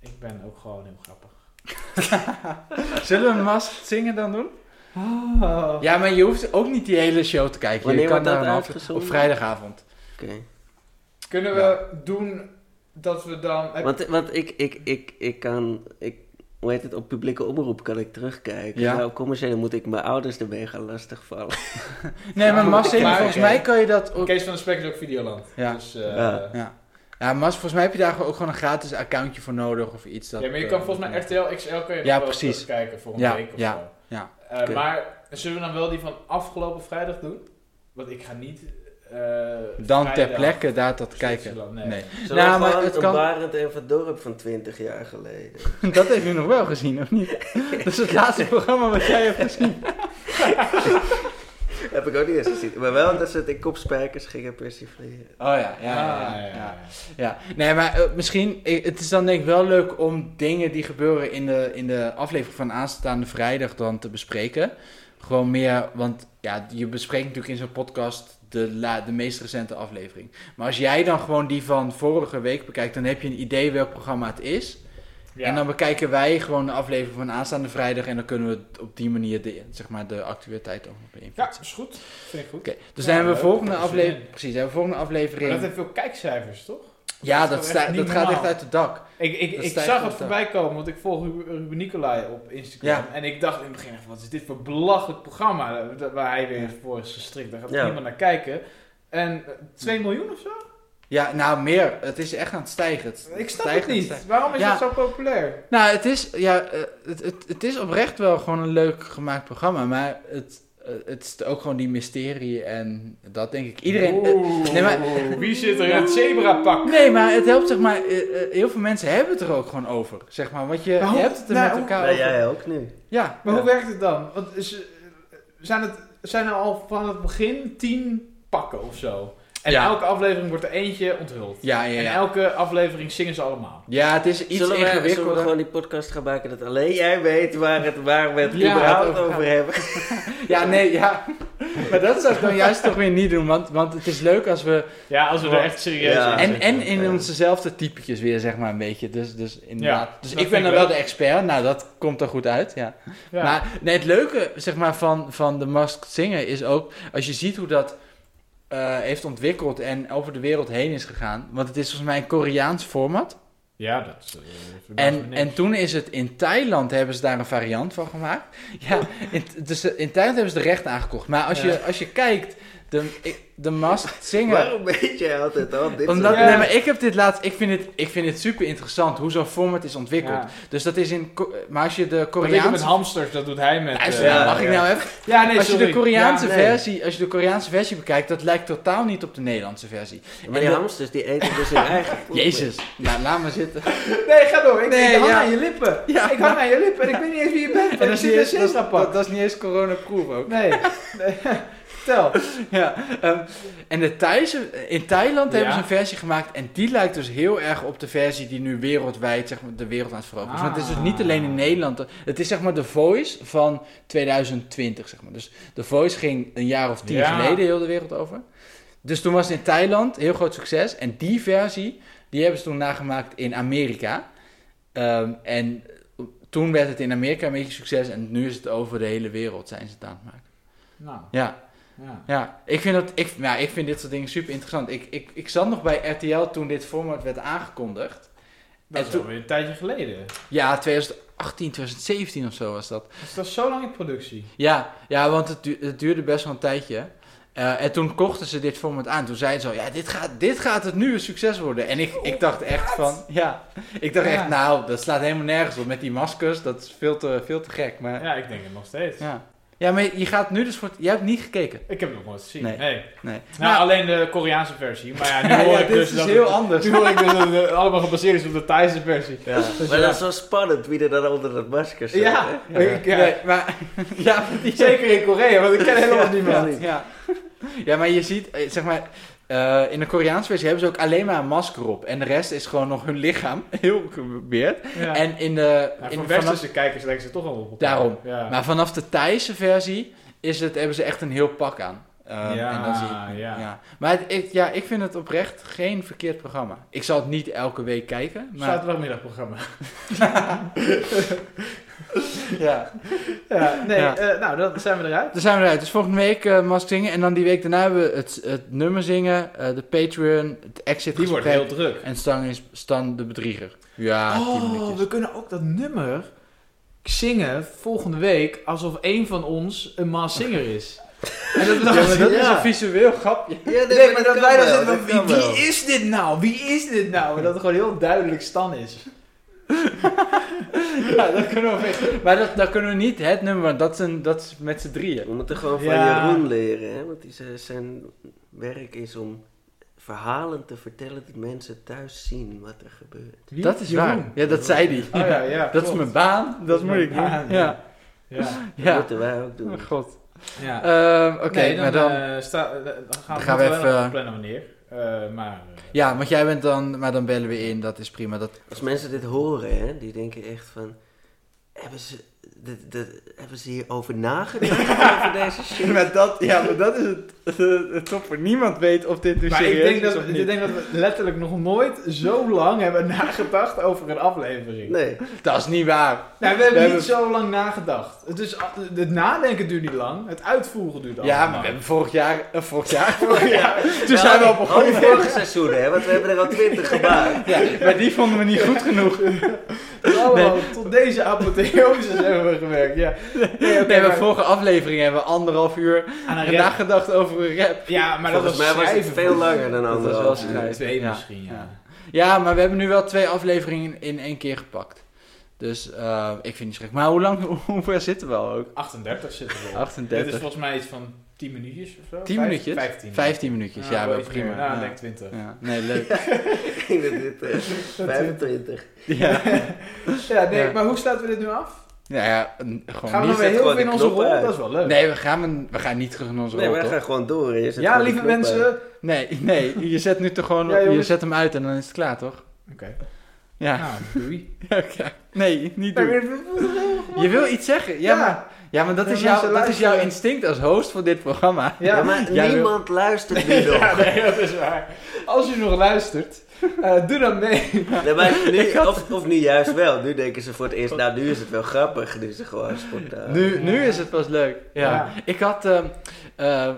ik ben ook gewoon heel grappig. Zullen we een mast zingen dan doen? Ja, maar je hoeft ook niet die hele show te kijken. Wanneer je kan wordt dat daar een half- uitgezonden? Op vrijdagavond. Oké. Kunnen we Ja. doen dat we dan... heb- Want, want ik, ik, ik, ik kan... Ik, hoe heet het? Op publieke omroep kan ik terugkijken. Ja. Nou, op commerciële moet ik mijn ouders ermee gaan lastigvallen. Nee, Oh, maar mast zingen, Maar, volgens oké. mij kan je dat ook. Kees van de Spek is ook Videoland. Ja. Dus, eh, Ja. Ja. Ja, Mas, volgens mij heb je daar ook gewoon een gratis accountje voor nodig of iets. Dat, ja, maar je eh, kan volgens mij RTL XL kan je Ja, nog wel precies. kijken voor een Ja, week of ja, zo. ja. Eh, Oké. Maar zullen we dan wel die van afgelopen vrijdag doen? Want ik ga niet... eh, Dan ter vrijdag plekke daar dat kijken. Zwitserland, Nee. Nee. Zo Nou, maar maar het het kan- Barend en van Dorp van 20 jaar geleden. Dat heeft u nog wel gezien, of niet? Dat is het laatste programma wat jij hebt gezien. Heb ik ook niet eens gezien. Maar wel dat ze het in kopspijkers gingen persifleren. Oh ja, ja, ja. Ah, ja, ja. Ja. Nee, maar eh, misschien, eh, het is dan denk ik wel leuk om dingen die gebeuren in de, in de aflevering van aanstaande vrijdag dan te bespreken. Gewoon meer, want ja, je bespreekt natuurlijk in zo'n podcast de, la, de meest recente aflevering. Maar als jij dan gewoon die van vorige week bekijkt, dan heb je een idee welk programma het is. Ja. En dan bekijken wij gewoon de aflevering van aanstaande vrijdag en dan kunnen we het op die manier de, zeg maar, de actualiteit ook nog beïnvloeden. ja, is goed. Vind ik goed. Oké, dus Ja, dan hebben we leuk. volgende Zin in. aflevering. Precies, hebben we volgende Maar aflevering. dat heeft veel kijkcijfers, toch? ja, dat dat, is sta- echt niet dat gaat echt normaal. uit het dak. Ik, ik, Dat ik stijgt zag wel het te- voorbij komen, want ik volg Ru- Ruben Nicolai op Instagram. Ja. En ik dacht in het begin, echt, wat is dit voor belachelijk programma eh, dat- waar hij weer voor is gestrikt. Daar gaat Ja. niemand naar kijken. En eh, 2 miljoen of zo? Ja, nou meer. Het is echt aan het stijgen. Het Ik snap stijgt het en niet. stijgt. Waarom is Ja. dat zo populair? Nou, het is, ja, eh, het, het, het is oprecht wel gewoon een leuk gemaakt programma. Maar het, eh, het is ook gewoon die mysterie en dat denk ik. Iedereen... eh, Oeh, nee, maar- Wie zit er in het zebrapak? Nee, maar het helpt zeg maar, eh, eh, heel veel mensen hebben het er ook gewoon over, zeg maar, want je, je Maar hoe- hebt het er nou, met elkaar Nou, over. jij ook nu. Ja, Maar Ja. hoe werkt het dan? Want is, eh, zijn, het, zijn er al van het begin 10 pakken of zo? En Ja. elke aflevering wordt er eentje onthuld. ja, ja, En ja. elke aflevering zingen ze allemaal. Ja, het is iets zullen, we, zullen we ingewikkelder. gewoon die podcast gaan maken dat alleen jij weet waar, het, waar we het Ja, überhaupt het over over hebben? Ja, nee, ja. Maar dat zou ik dan juist toch weer niet doen, want, want het is leuk als we... Ja, als we er echt serieus Ja. in En, zitten. en in onzezelfde typetjes weer, zeg maar, een beetje. Dus, dus inderdaad. Ja, dus dat ik ben vind dan ik wel de leuk. expert. Nou, dat komt er goed uit, ja. Ja. Maar nee, het leuke zeg maar, van, van de Masked Singer is ook... als je ziet hoe dat eh, heeft ontwikkeld en over de wereld heen is gegaan... want het is volgens mij een Koreaans format. Ja, dat is... eh, verbaast me En, niks. en toen is het in Thailand hebben ze daar een variant van gemaakt. Ja, in, dus in Thailand hebben ze de rechten aangekocht. Maar als, je, als je kijkt, de, ik- de Masked Singer... Waarom weet jij altijd al dit Omdat, soort- Ja. nee, maar ik heb dit laatst. Ik vind het, ik vind het super interessant hoe zo'n format is ontwikkeld. Ja. Dus dat is in. Ko- Maar als je de Wat ik doe met Koreaanse. hamsters, dat doet hij met... Luister eh, nou, Ja, mag ik nou even? Ja, nee, als, je de sorry. Koreaanse Ja, nee. versie, als je de Koreaanse versie bekijkt, dat lijkt totaal niet op de Nederlandse versie. Maar En die de- hamsters, die eten dus hun eigen voet. Jezus, nou laat maar zitten. Nee, ga door. Ik, Nee, ik hang ja. aan je lippen. Ja. ik hang aan je lippen en ik weet niet eens wie je bent. want En je dat is, zit niet in eens, dat, is- Sinaasappel. dat- dat is niet eens coronaproof ook. Nee. Vertel. Ja, ehm, en de Thaise, in Thailand Ja. hebben ze een versie gemaakt en die lijkt dus heel erg op de versie die nu wereldwijd zeg maar, de wereld aan het veroveren is. Want het is dus niet alleen Ah. in Nederland. Het is zeg maar de Voice van 2020, zeg maar. Dus de Voice ging een jaar of tien Ja. geleden heel de wereld over. Dus toen was het in Thailand heel groot succes. En die versie, die hebben ze toen nagemaakt in Amerika. Ehm, en toen werd het in Amerika een beetje succes en nu is het over de hele wereld zijn ze het aan het maken. Nou, Ja. ja. Ja, ik vind, dat, ik, nou, ik vind dit soort dingen super interessant. Ik, ik, ik zat nog bij RTL toen dit format werd aangekondigd. Dat En is toen- alweer een tijdje geleden. Ja, 2018, 2017 of zo was dat. Dus dat is zo lang in productie. Ja, ja want het, du- het duurde best wel een tijdje. Eh, en toen kochten ze dit format aan. Toen zeiden ze al, ja, dit gaat, dit gaat het nieuwe succes worden. En ik, ik dacht echt van, ja. Ik dacht Ja. echt, nou, dat slaat helemaal nergens op met die maskers. Dat is veel te, veel te gek. Maar, ja. Ja, ik denk het nog steeds. Ja. maar je gaat nu dus voor... het- Jij hebt niet gekeken. Ik heb het nog nooit gezien. Nee. Nee. Nee. Nou, Nou, alleen de Koreaanse versie. Maar ja, ja, nu hoor ik dit dus is dat heel het- anders. nu hoor ik dus dat het eh, allemaal gebaseerd is op de Thaise versie. Ja. Maar dat is wel spannend wie er dan onder dat masker zit. hè? Ja, ik- ja. Nee, maar, ja, die zeker in Korea, want ik ken helemaal niemand. Ja. Ja. ja, maar je ziet, eh, zeg maar, eh, in de Koreaanse versie hebben ze ook alleen maar een masker op. En de rest is gewoon nog hun lichaam, heel gebeerd. Ja. En in de... Ja, in voor vanaf- westerse kijkers lijken ze toch al op elkaar. Daarom. Ja. maar vanaf de Thaise versie is het, hebben ze echt een heel pak aan. Ehm, Ja, en dan zie je- ja. Maar het, ik, ja, ik vind het oprecht geen verkeerd programma. Ik zal het niet elke week kijken, maar... Zaterdagmiddagprogramma. Ja. Ja, nee, Ja. eh, nou, dan zijn we eruit. Daar zijn we eruit. Dus volgende week eh Mask zingen. En dan die week daarna hebben we het, het nummer zingen, eh, de Patreon, het exit Die wordt heel druk. En Stan is Stan de bedrieger. Ja, tien Oh, minuutjes. we kunnen ook dat nummer zingen volgende week alsof een van ons een Maas Singer is. En dat we dan Ja, maar dat is Ja. een visueel grapje. Ja, Nee, maar dat kan wij dan wel, zitten dat van, kan wie, wel. wie is dit nou? Wie is dit nou? En dat het gewoon heel duidelijk Stan is. Ja, dat kunnen we. Maar dat, dat kunnen we niet, het nummer, want dat is, een, dat is met z'n drieën. We moeten gewoon van Ja. Jeroen leren, hè? want die, z- zijn werk is om verhalen te vertellen die mensen thuis zien wat er gebeurt. Wie? Dat is Jeroen. waar. Ja, dat zei die. Oh ja, ja, dat is klopt. mijn baan, dat is moet ik mijn doen. baan, Ja, Ja. Dat ja. moeten wij ook Oh, doen. god. ja. Ehm, Oké, Nee, maar dan... eh, sta- eh, dan gaan we, gaan we moeten even- wel nog plannen wanneer. Eh, maar eh, Ja, want jij bent dan... Maar dan bellen we in, dat is prima. Dat, Als mensen dit horen, hè, die denken echt van... Hebben ze, dit, dit- hebben ze hierover nagedacht over deze shit? Maar dat, ja, maar dat is het, het, het topper. Niemand weet of dit nu Maar ik Dus serieus denk, is dat, of ik niet. denk dat we letterlijk nog nooit zo lang hebben nagedacht over een aflevering. Nee, Dat is niet waar. Nou, we hebben We niet hebben- zo lang nagedacht. Het, is, het nadenken duurt niet lang, het uitvoeren duurt al Ja, lang. maar we hebben vorig jaar... eh, vorig jaar? Vorig jaar. Toen Ja, zijn we al al die begonnen. Nou, vorige seizoenen, hè, want we hebben er al twintig gemaakt. Ja, maar die vonden we niet goed genoeg. Allemaal tot deze apotheoses hebben we gewerkt. Ja. Nee, oké, Nee, maar- maar vorige aflevering hebben we anderhalf uur Aan een rap. nagedacht over een rap. Ja, maar Volgens dat was mij was het schrijven. veel langer dan was anderhalf wel uur. schrijven. twee Ja. misschien, ja. Ja, maar we hebben nu wel twee afleveringen in één keer gepakt. Dus eh, ik vind het niet schrik. Maar hoe lang, hoe ver zitten we al ook? 38 zitten we op. Dit is 38. volgens mij iets van 10 minuutjes of zo. 10 Vijf- minuutjes? 15. 15 minuutjes, Ah, ja, wel iets meer. prima. Nou, ik Ja. denk 20. Ja. Nee, leuk. Ik denk dat dit eh, 25. Ja. Ja, nee, Ja. maar hoe sluiten we dit nu af? Nou ja, een- gewoon Gaan we hier nog weer zit heel gewoon veel in de onze knop rol? uit. Dat is wel leuk. Nee, we gaan, een- we gaan niet terug in onze Nee, rol, maar we toch? gaan gewoon door. Hier zit ja, gewoon die lieve knop uit. mensen. Nee, nee, je zet nu toch gewoon... Ja, je jongens. zet hem uit en dan is het klaar, toch? Oké. Ja. Nou, doei. Ja, oké. Nee, niet doen. Ja, Je wil iets zeggen? Ja, Ja. maar... Ja, maar dat, Ja, is, mensen jouw, dat is jouw luisteren. instinct als host voor dit programma. Ja, Ja, maar jij wil- niemand luistert nu nog. Ja, nee, dat is waar. Als je nog luistert, eh, doe dan mee. Nee, maar nu, of, of nu juist wel. Nu denken ze voor het eerst, nou nu is het wel grappig. Nu is het gewoon spontaan. Nu, nu is het pas leuk. Ja. Ja. Ik had, ehm, eh, eh,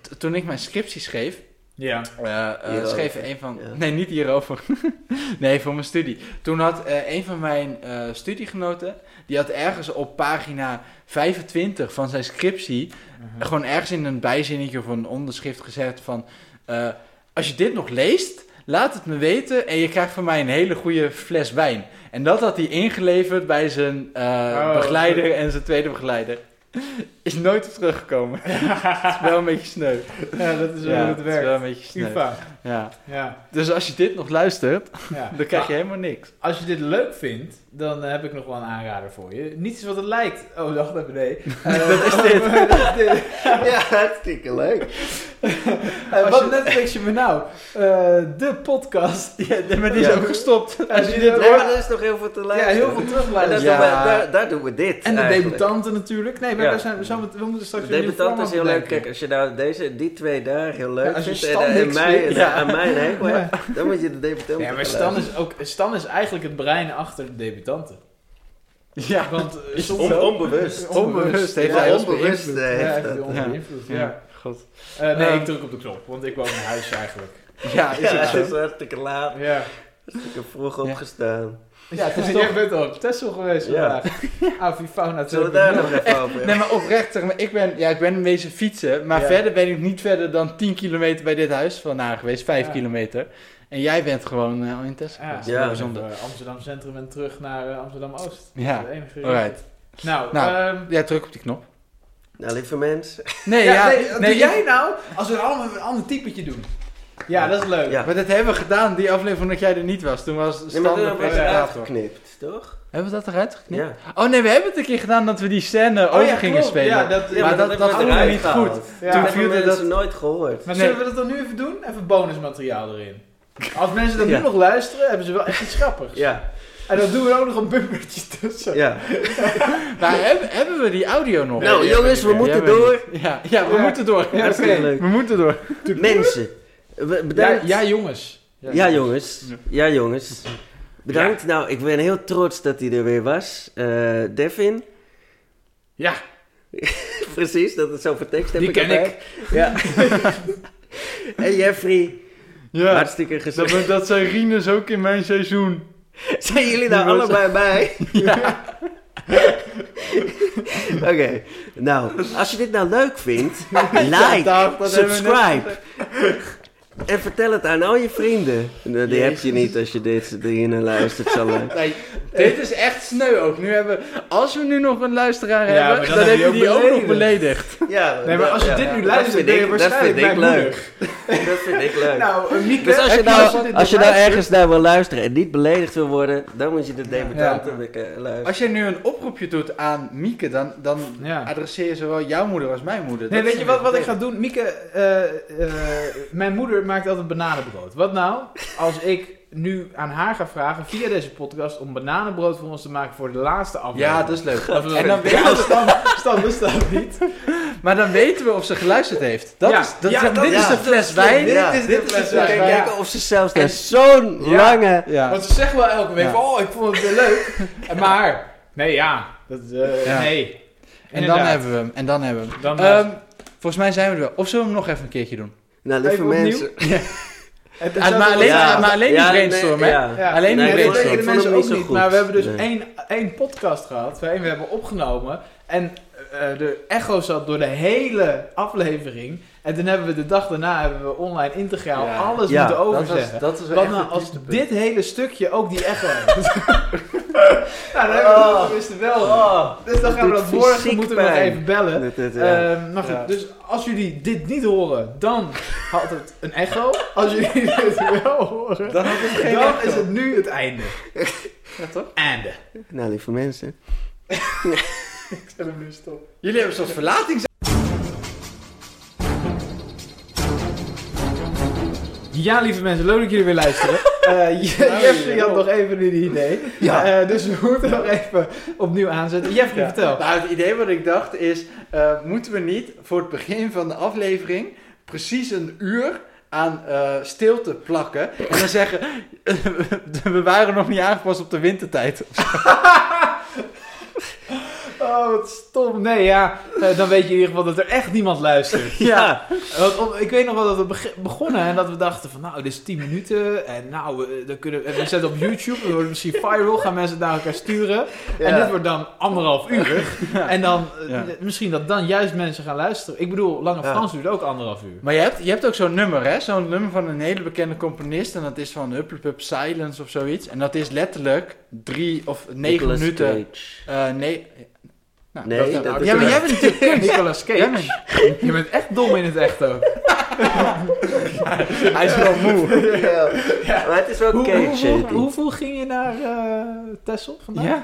t- toen ik mijn scriptie schreef, Ja. Eh, eh, Hierover. schreef een van. Ja. Nee, niet hierover. nee, voor mijn studie. Toen had eh, een van mijn eh, studiegenoten. die had ergens op pagina 25 van zijn scriptie. gewoon ergens in een bijzinnetje of een onderschrift gezet van. eh, als je dit nog leest, laat het me weten. en je krijgt van mij een hele goede fles wijn. En dat had hij ingeleverd bij zijn eh, Oh. begeleider en zijn tweede begeleider. Is nooit op teruggekomen. Het is wel een beetje sneu. ja, dat is wel hoe het is wel werkt. een beetje sneu. UFA. Ja. Ja, Dus als je dit nog luistert, ja. dan krijg je helemaal niks. Als je dit leuk vindt, dan eh, heb ik nog wel een aanrader voor je. Niets is wat het lijkt. Oh, wacht even, nee. Eh, Dat is dit. Ja, hartstikke leuk. eh, Als wat je- Netflix je me nou? Eh, de podcast. maar die is Ja. ook gestopt. Als je dit Nee, hoort, maar er is nog heel veel te ja, luisteren. heel veel En dat terugluisteren. is Ja. nog wel- daar, daar doen we dit En de eigenlijk. debutanten natuurlijk. Nee, maar Ja. daar zijn, we- zijn we, we moeten straks De weer een nieuw debutant is heel format leuk. bedenken. Kijk, als je nou deze, die twee daar heel leuk Ja, als je vindt en, eh, Stan en niks mij, vindt, en- ja. aan mij een hekel hebt, dan moet je de debutant Ja, maar gaan Stan luisteren. is, ook, Stan is eigenlijk het brein achter de debutanten. Ja. Want eh, soms On- ook- onbewust. Onbewust heeft Ja, hij ons onbewust beïnvloed. eh, Ja, heeft echt dat. heel Ja. onder invloed, ja. Ja, god. Eh, nee, Ehm. ik druk op de knop, want ik woon in huis eigenlijk. Ja, is Ja, ook het zo. is hartstikke laat. Ja, Ik heb vroeg Ja. opgestaan. ja het is toch... jij bent al op Texel geweest Ja. vandaag. Ah, Avifauna Zullen we daar 2.0. nog even over Nee, maar oprecht, zeg maar, ik ben, ja, ik ben wezen fietsen, maar Ja. verder ben ik niet verder dan 10 kilometer bij dit huis vandaan geweest, 5 Ja. kilometer. En jij bent gewoon eh, al in Tesla Ja, geweest. Ja. Ja, bijzonder. bijzonder. Amsterdam Centrum en terug naar eh, Amsterdam Oost. Ja, Dat is het enige Alright. Nou, Nou, ehm, Ja, druk op die knop. Nou, lieve mensen. Nee, ja, ja, nee, wat doe ik- jij nou als we allemaal een ander typetje doen? Ja, dat is leuk. Ja. Maar dat hebben we gedaan, die aflevering dat jij er niet was. Toen was Nee, maar Stan dat de wordt eruit presentator. geknipt, toch? Hebben we dat eruit geknipt? Ja. Oh nee, we hebben het een keer gedaan dat we die scène Oh over ja, gingen klopt. spelen. Ja, dat, Ja, maar dat- hebben we dat doen we eruit niet gehaald. goed. ja. Toen Toen hebben vierde mensen dat- nooit gehoord. Maar Nee. zullen we dat dan nu even doen? Even bonusmateriaal erin. Als mensen dat Ja. nu nog luisteren, hebben ze wel echt iets grappigs. Ja, En dan doen we ook nog een bumpertje tussen. ja. Maar hebben, hebben we die audio nog? nou, die jongens, we hebben moeten Hebben we door. niet. Ja, ja we Ja. moeten door. Ja, oké. Hartstikke leuk. We moeten door. Mensen, we- bedankt. Ja, ja, jongens. Ja, jongens. Ja, jongens. Bedankt. Nou, ik ben heel trots dat hij er weer was. Eh, Devin. Ja. Precies, dat is zoveel tekst heb Die ik ken erbij. Ja. en Jeffrey. Ja, Hartstikke gezellig. dat, dat zijn Rines ook in mijn seizoen. Zijn jullie nou Die was- allebei bij? Oké, nou, als je dit nou leuk vindt, dag, like, dat hebben we net subscribe. En vertel het aan al je vrienden. Nou, Die heb Jezus. je niet als je dit hiernaar luistert zo lang. Nee, dit is echt sneu ook. Nu hebben, als we nu nog een luisteraar Ja, hebben, maar dan, dan heb heb je je ook die ook nog beledigd. beledigd. Ja, Nee, maar als je ja. dit nu Dat luistert, vind ben je ik- waarschijnlijk dat vind ik blijmoedig. leuk. Dat vind ik leuk. Nou, eh, Mieke, dus als je heb nou, als je dit nou luistert- ergens naar wil luisteren en niet beledigd wil worden, dan moet je de debutanten eh, luisteren. Als jij nu een oproepje doet aan Mieke, dan, dan Ja. adresseer je zowel jouw moeder als mijn moeder. Nee, Dat weet je is wat, wat ik vervelend. ga doen? Mieke, eh, eh, mijn moeder maakt altijd bananenbrood. Wat nou als ik nu aan haar ga vragen via deze podcast om bananenbrood voor ons te maken voor de laatste aflevering? Ja, dat is leuk. Dat En dan weten we Stan, Stan wist dat niet. Maar dan weten we of ze geluisterd heeft. Dat Ja. is, dat, Ja, zeg maar, dat dit is is de het. fles wijn. Ja. Dit is Dit de is fles de wijn. Kijk, ja. kijken of ze zelfs naar zo'n lange... Ja. Want ze zeggen wel elke week Ja. van, oh, ik vond het wel leuk. En Maar, nee, ja. Dat, eh, Ja. Nee. En dan Inderdaad. hebben we hem. En dan hebben we hem. Dan, Ehm, volgens mij zijn we er wel. Of zullen we hem nog even een keertje doen? Nou, lieve Even opnieuw? mensen. Het is Ah, maar ook- alleen- maar alleen die nee, brainstorm, hè? ja. Ja. Alleen nee, die dat brainstorm. weten de Ik vond mensen hem ook niet zo niet, goed. maar we hebben dus Nee. één, één podcast gehad waarin we hebben opgenomen. En eh, de echo zat door de hele aflevering. En toen hebben we de dag daarna hebben we online integraal Ja. alles Ja, moeten Dat was, overzetten. dat was wel Wat echt nou het als dieptepunt. dit hele stukje ook die echo heeft? nou, dan hebben we dat tenminste wel. dus dan dat gaan we doet dat morgen fysiek moeten we nog pijn. even bellen. Dat- dat- ja. Eh, maar goed, Ja. dus als jullie dit niet horen, dan had het een echo. Als jullie dit wel horen, Dan had het geen dan echo. is het nu het einde. Ja, toch? Einde. Nou, lieve mensen. Jullie hebben zo'n verlatings... Ja, lieve mensen, leuk dat jullie weer luisteren. Eh, Je- Jeffrey had nog even een idee. Ja. Eh, dus we moeten nog even opnieuw aanzetten. Jeffrey, Ja. vertel. Nou, het idee wat ik dacht is, eh, moeten we niet voor het begin van de aflevering precies een uur aan eh, stilte plakken en dan zeggen, we waren nog niet aangepast op de wintertijd. Oh, wat stom. Nee, ja. eh, dan weet je in ieder geval dat er echt niemand luistert. Ja. Want om- ik weet nog wel dat we beg- begonnen en dat we dachten van, nou, dit is 10 minuten. En nou, eh, dan kunnen we, we zetten op YouTube, we worden misschien viral, gaan mensen het naar elkaar sturen. En dit wordt dan anderhalf uur. En dan, eh, Ja. misschien dat dan juist mensen gaan luisteren. Ik bedoel, Lange Ja. Frans duurt ook anderhalf uur. Maar je hebt, je hebt ook zo'n nummer, hè? Zo'n nummer van een hele bekende componist. En dat is van Hupplepup Silence of zoiets. En dat is letterlijk drie of negen Nicolas minuten. Cage. eh, nee. Nou, Nee, dat- dat nou, is ja, maar een- jij bent natuurlijk Nicolas Jij Cage. Je bent echt dom in het echt ook. bent- Hij is wel moe. Maar het is wel Hoe, Cage. hoe- hoe- heet die. hoeveel ging je naar eh Tessel vandaag? Ja,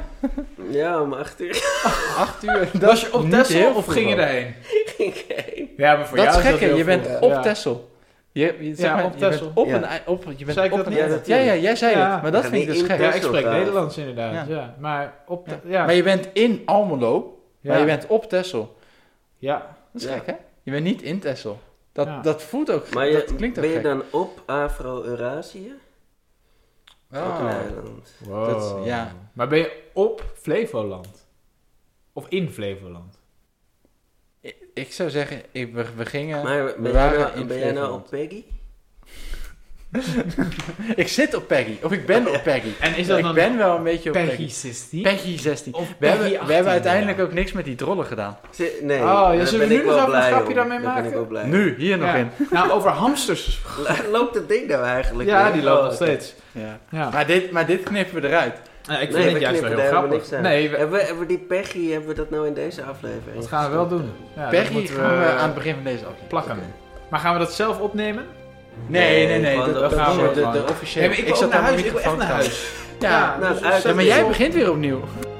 Ja, om acht uur acht uur. Was je op Niet Tessel heel of veel ging je van. daarheen? ging ik heen. Ja, maar voor dat is jou is gekker. heel Je bent veel. op Ja. Tessel. Je, je, zeg Ja, maar, op je Texel. bent op Ja. een ei- op, je bent Zei ik op dat een niet? ei- Ja, dat- Ja, ja, jij zei Ja. het. Maar dat Ja, vind ik nee, dus in gek. Ja, ik spreek Texel, ja. Nederlands inderdaad. Ja. Maar op... Ja. Te- Ja. Maar je bent in Almelo. Maar Ja. je bent op Tessel. ja. Dat is Ja. gek, hè? Je bent niet in Tessel. Dat, Ja. dat voelt ook. Maar je, dat klinkt ook ben je gek. dan op Afro-Eurasië? Ah. Ook een Oh. eiland. Wow. Dat is- ja. Maar ben je op Flevoland? Of in Flevoland? Ik- Ik zou zeggen, ik, we, we gingen. Maar ben, waren jij, nou, in ben jij nou Flevoland. op Peggy? Ik zit op Peggy, of ik ben op Peggy. En is dat ik dan ben wel een beetje op Peggy Peggy. 16? Peggy 16. Of we, hebben, Peggy we hebben 18, uiteindelijk ja. ook niks met die drollen gedaan. Zit- Nee, Oh, ja, daar zullen we ben nu nog ik wel even een blij grapje om. daarmee Daar ben ik maken? wel blij om. Nu, hier nog Ja. in. Nou, over hamsters. Loopt het ding nou eigenlijk? Ja, weer? die loopt Oh, nog oké. steeds. Ja. Ja. Maar, dit, maar dit knippen we eruit. Nou, ik vind Nee, het we juist knippen wel daar heel helemaal grappig. niks aan. Nee, we- Hebben, we, hebben we die Peggy, hebben we dat nou in deze aflevering? dat gaan we wel doen. Ja, dat Peggy moeten gaan Nou, we aan het begin van deze aflevering. plakken. Maar gaan we dat zelf opnemen? Nee, nee, nee. gewoon dat- de dat gaan gaan we we. De, gewoon. de officiële. Nee, maar ik wil ook zat naar aan de huis, ik wil echt microfoon naar te houden. Ja, Nou, dus uit. zet ja, maar het jij op. begint weer opnieuw.